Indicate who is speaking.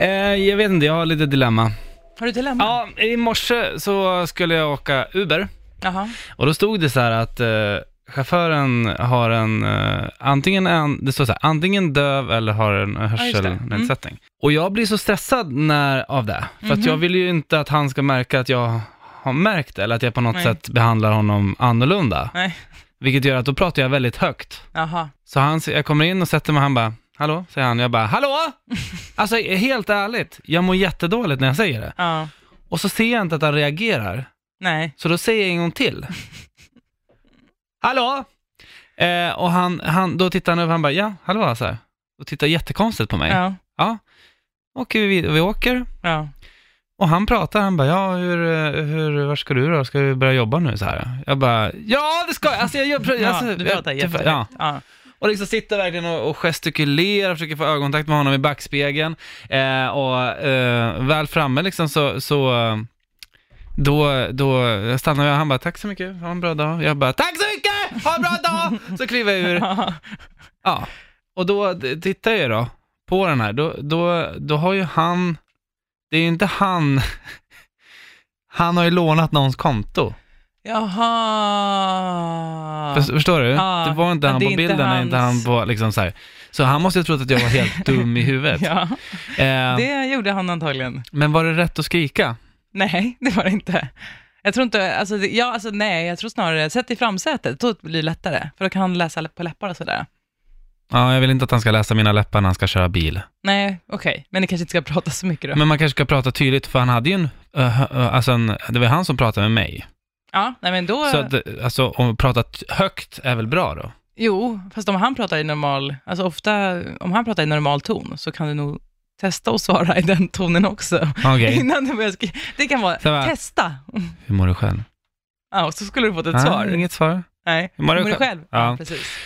Speaker 1: Eh, jag vet inte, jag har lite dilemma.
Speaker 2: Har du dilemma?
Speaker 1: Ja, i morse så skulle jag åka Uber
Speaker 2: Jaha.
Speaker 1: och då stod det så här att eh, chauffören har en, eh, antingen en, det står så här, antingen döv eller har en
Speaker 2: just det. Mm.
Speaker 1: hörselnedsättning. Och jag blir så stressad när, av det, för att jag vill ju inte att han ska märka att jag har märkt det, eller att jag på något
Speaker 2: Nej.
Speaker 1: sätt behandlar honom annorlunda.
Speaker 2: Nej.
Speaker 1: Vilket gör att då pratar jag väldigt högt.
Speaker 2: Jaha.
Speaker 1: Så han, jag kommer in och sätter mig och han bara, hallå, säger han. Jag bara, hallå! Alltså helt ärligt, jag mår jättedåligt när jag säger det.
Speaker 2: Ja.
Speaker 1: Och så ser jag inte att han reagerar,
Speaker 2: Nej.
Speaker 1: så då säger jag en gång till. hallå! Eh, och han, han, då tittar han över, han bara, ja, hallå, så här. Och tittar jättekonstigt på mig. Ja.
Speaker 2: Ja.
Speaker 1: Och vi, vi åker,
Speaker 2: Ja.
Speaker 1: och han pratar, han bara, ja, hur, eh, hur, var ska du då? Ska du börja jobba nu så här? Jag bara, ja, det ska jag! Alltså, jag, jag,
Speaker 2: Ja,
Speaker 1: alltså,
Speaker 2: du pratar
Speaker 1: jag-
Speaker 2: jättehögt.
Speaker 1: ja.
Speaker 2: Ja.
Speaker 1: Och liksom sitter verkligen och, och gestikulerar, försöker få ögonkontakt med honom i backspegeln. Eh, och eh, väl framme liksom så, så eh, då, då stannar jag och han bara tack så mycket, ha en bra dag. Jag bara tack så mycket, ha en bra dag! Så kliver jag ur.
Speaker 2: Ja.
Speaker 1: Ja. Och då d- tittar jag då på den här, då, då, då har ju han, det är ju inte han, han har ju lånat någons konto.
Speaker 2: Jaha.
Speaker 1: Först- Förstår du?
Speaker 2: Ja.
Speaker 1: Det var inte
Speaker 2: Ja,
Speaker 1: han
Speaker 2: det är
Speaker 1: på
Speaker 2: inte
Speaker 1: bilden, det är inte han
Speaker 2: hans-
Speaker 1: på liksom så här. Så han måste ju ha trott att jag var helt dum i huvudet.
Speaker 2: Ja,
Speaker 1: Eh,
Speaker 2: det gjorde han antagligen.
Speaker 1: Men var det rätt att skrika?
Speaker 2: Nej, det var det inte. Jag tror inte, alltså, det- ja, alltså nej, jag tror snarare, sätt i framsätet, då blir det lättare, för då kan han läsa på läppar och sådär.
Speaker 1: Ja, jag vill inte att han ska läsa mina läppar när han ska köra bil.
Speaker 2: Nej, okej, men ni kanske inte ska prata så mycket då.
Speaker 1: Men man kanske ska prata tydligt, för han hade ju en, eh, eh, alltså en det var han som pratade med mig.
Speaker 2: Ja, nej men då,
Speaker 1: Så att, eh, alltså, att prata t- högt är väl bra då?
Speaker 2: jo, fast om han pratar i normal, alltså ofta, om han pratar i normal ton, så kan du nog testa att svara i den tonen också.
Speaker 1: Okej,
Speaker 2: Innan du börjar skriva. Det kan vara,
Speaker 1: Så bara-
Speaker 2: testa.
Speaker 1: hur mår du själv?
Speaker 2: Ja, och så skulle du fått ett
Speaker 1: Ah,
Speaker 2: svar.
Speaker 1: Inget svar.
Speaker 2: Nej,
Speaker 1: Hur mår du
Speaker 2: du
Speaker 1: själv?
Speaker 2: själv?
Speaker 1: Ja.
Speaker 2: precis.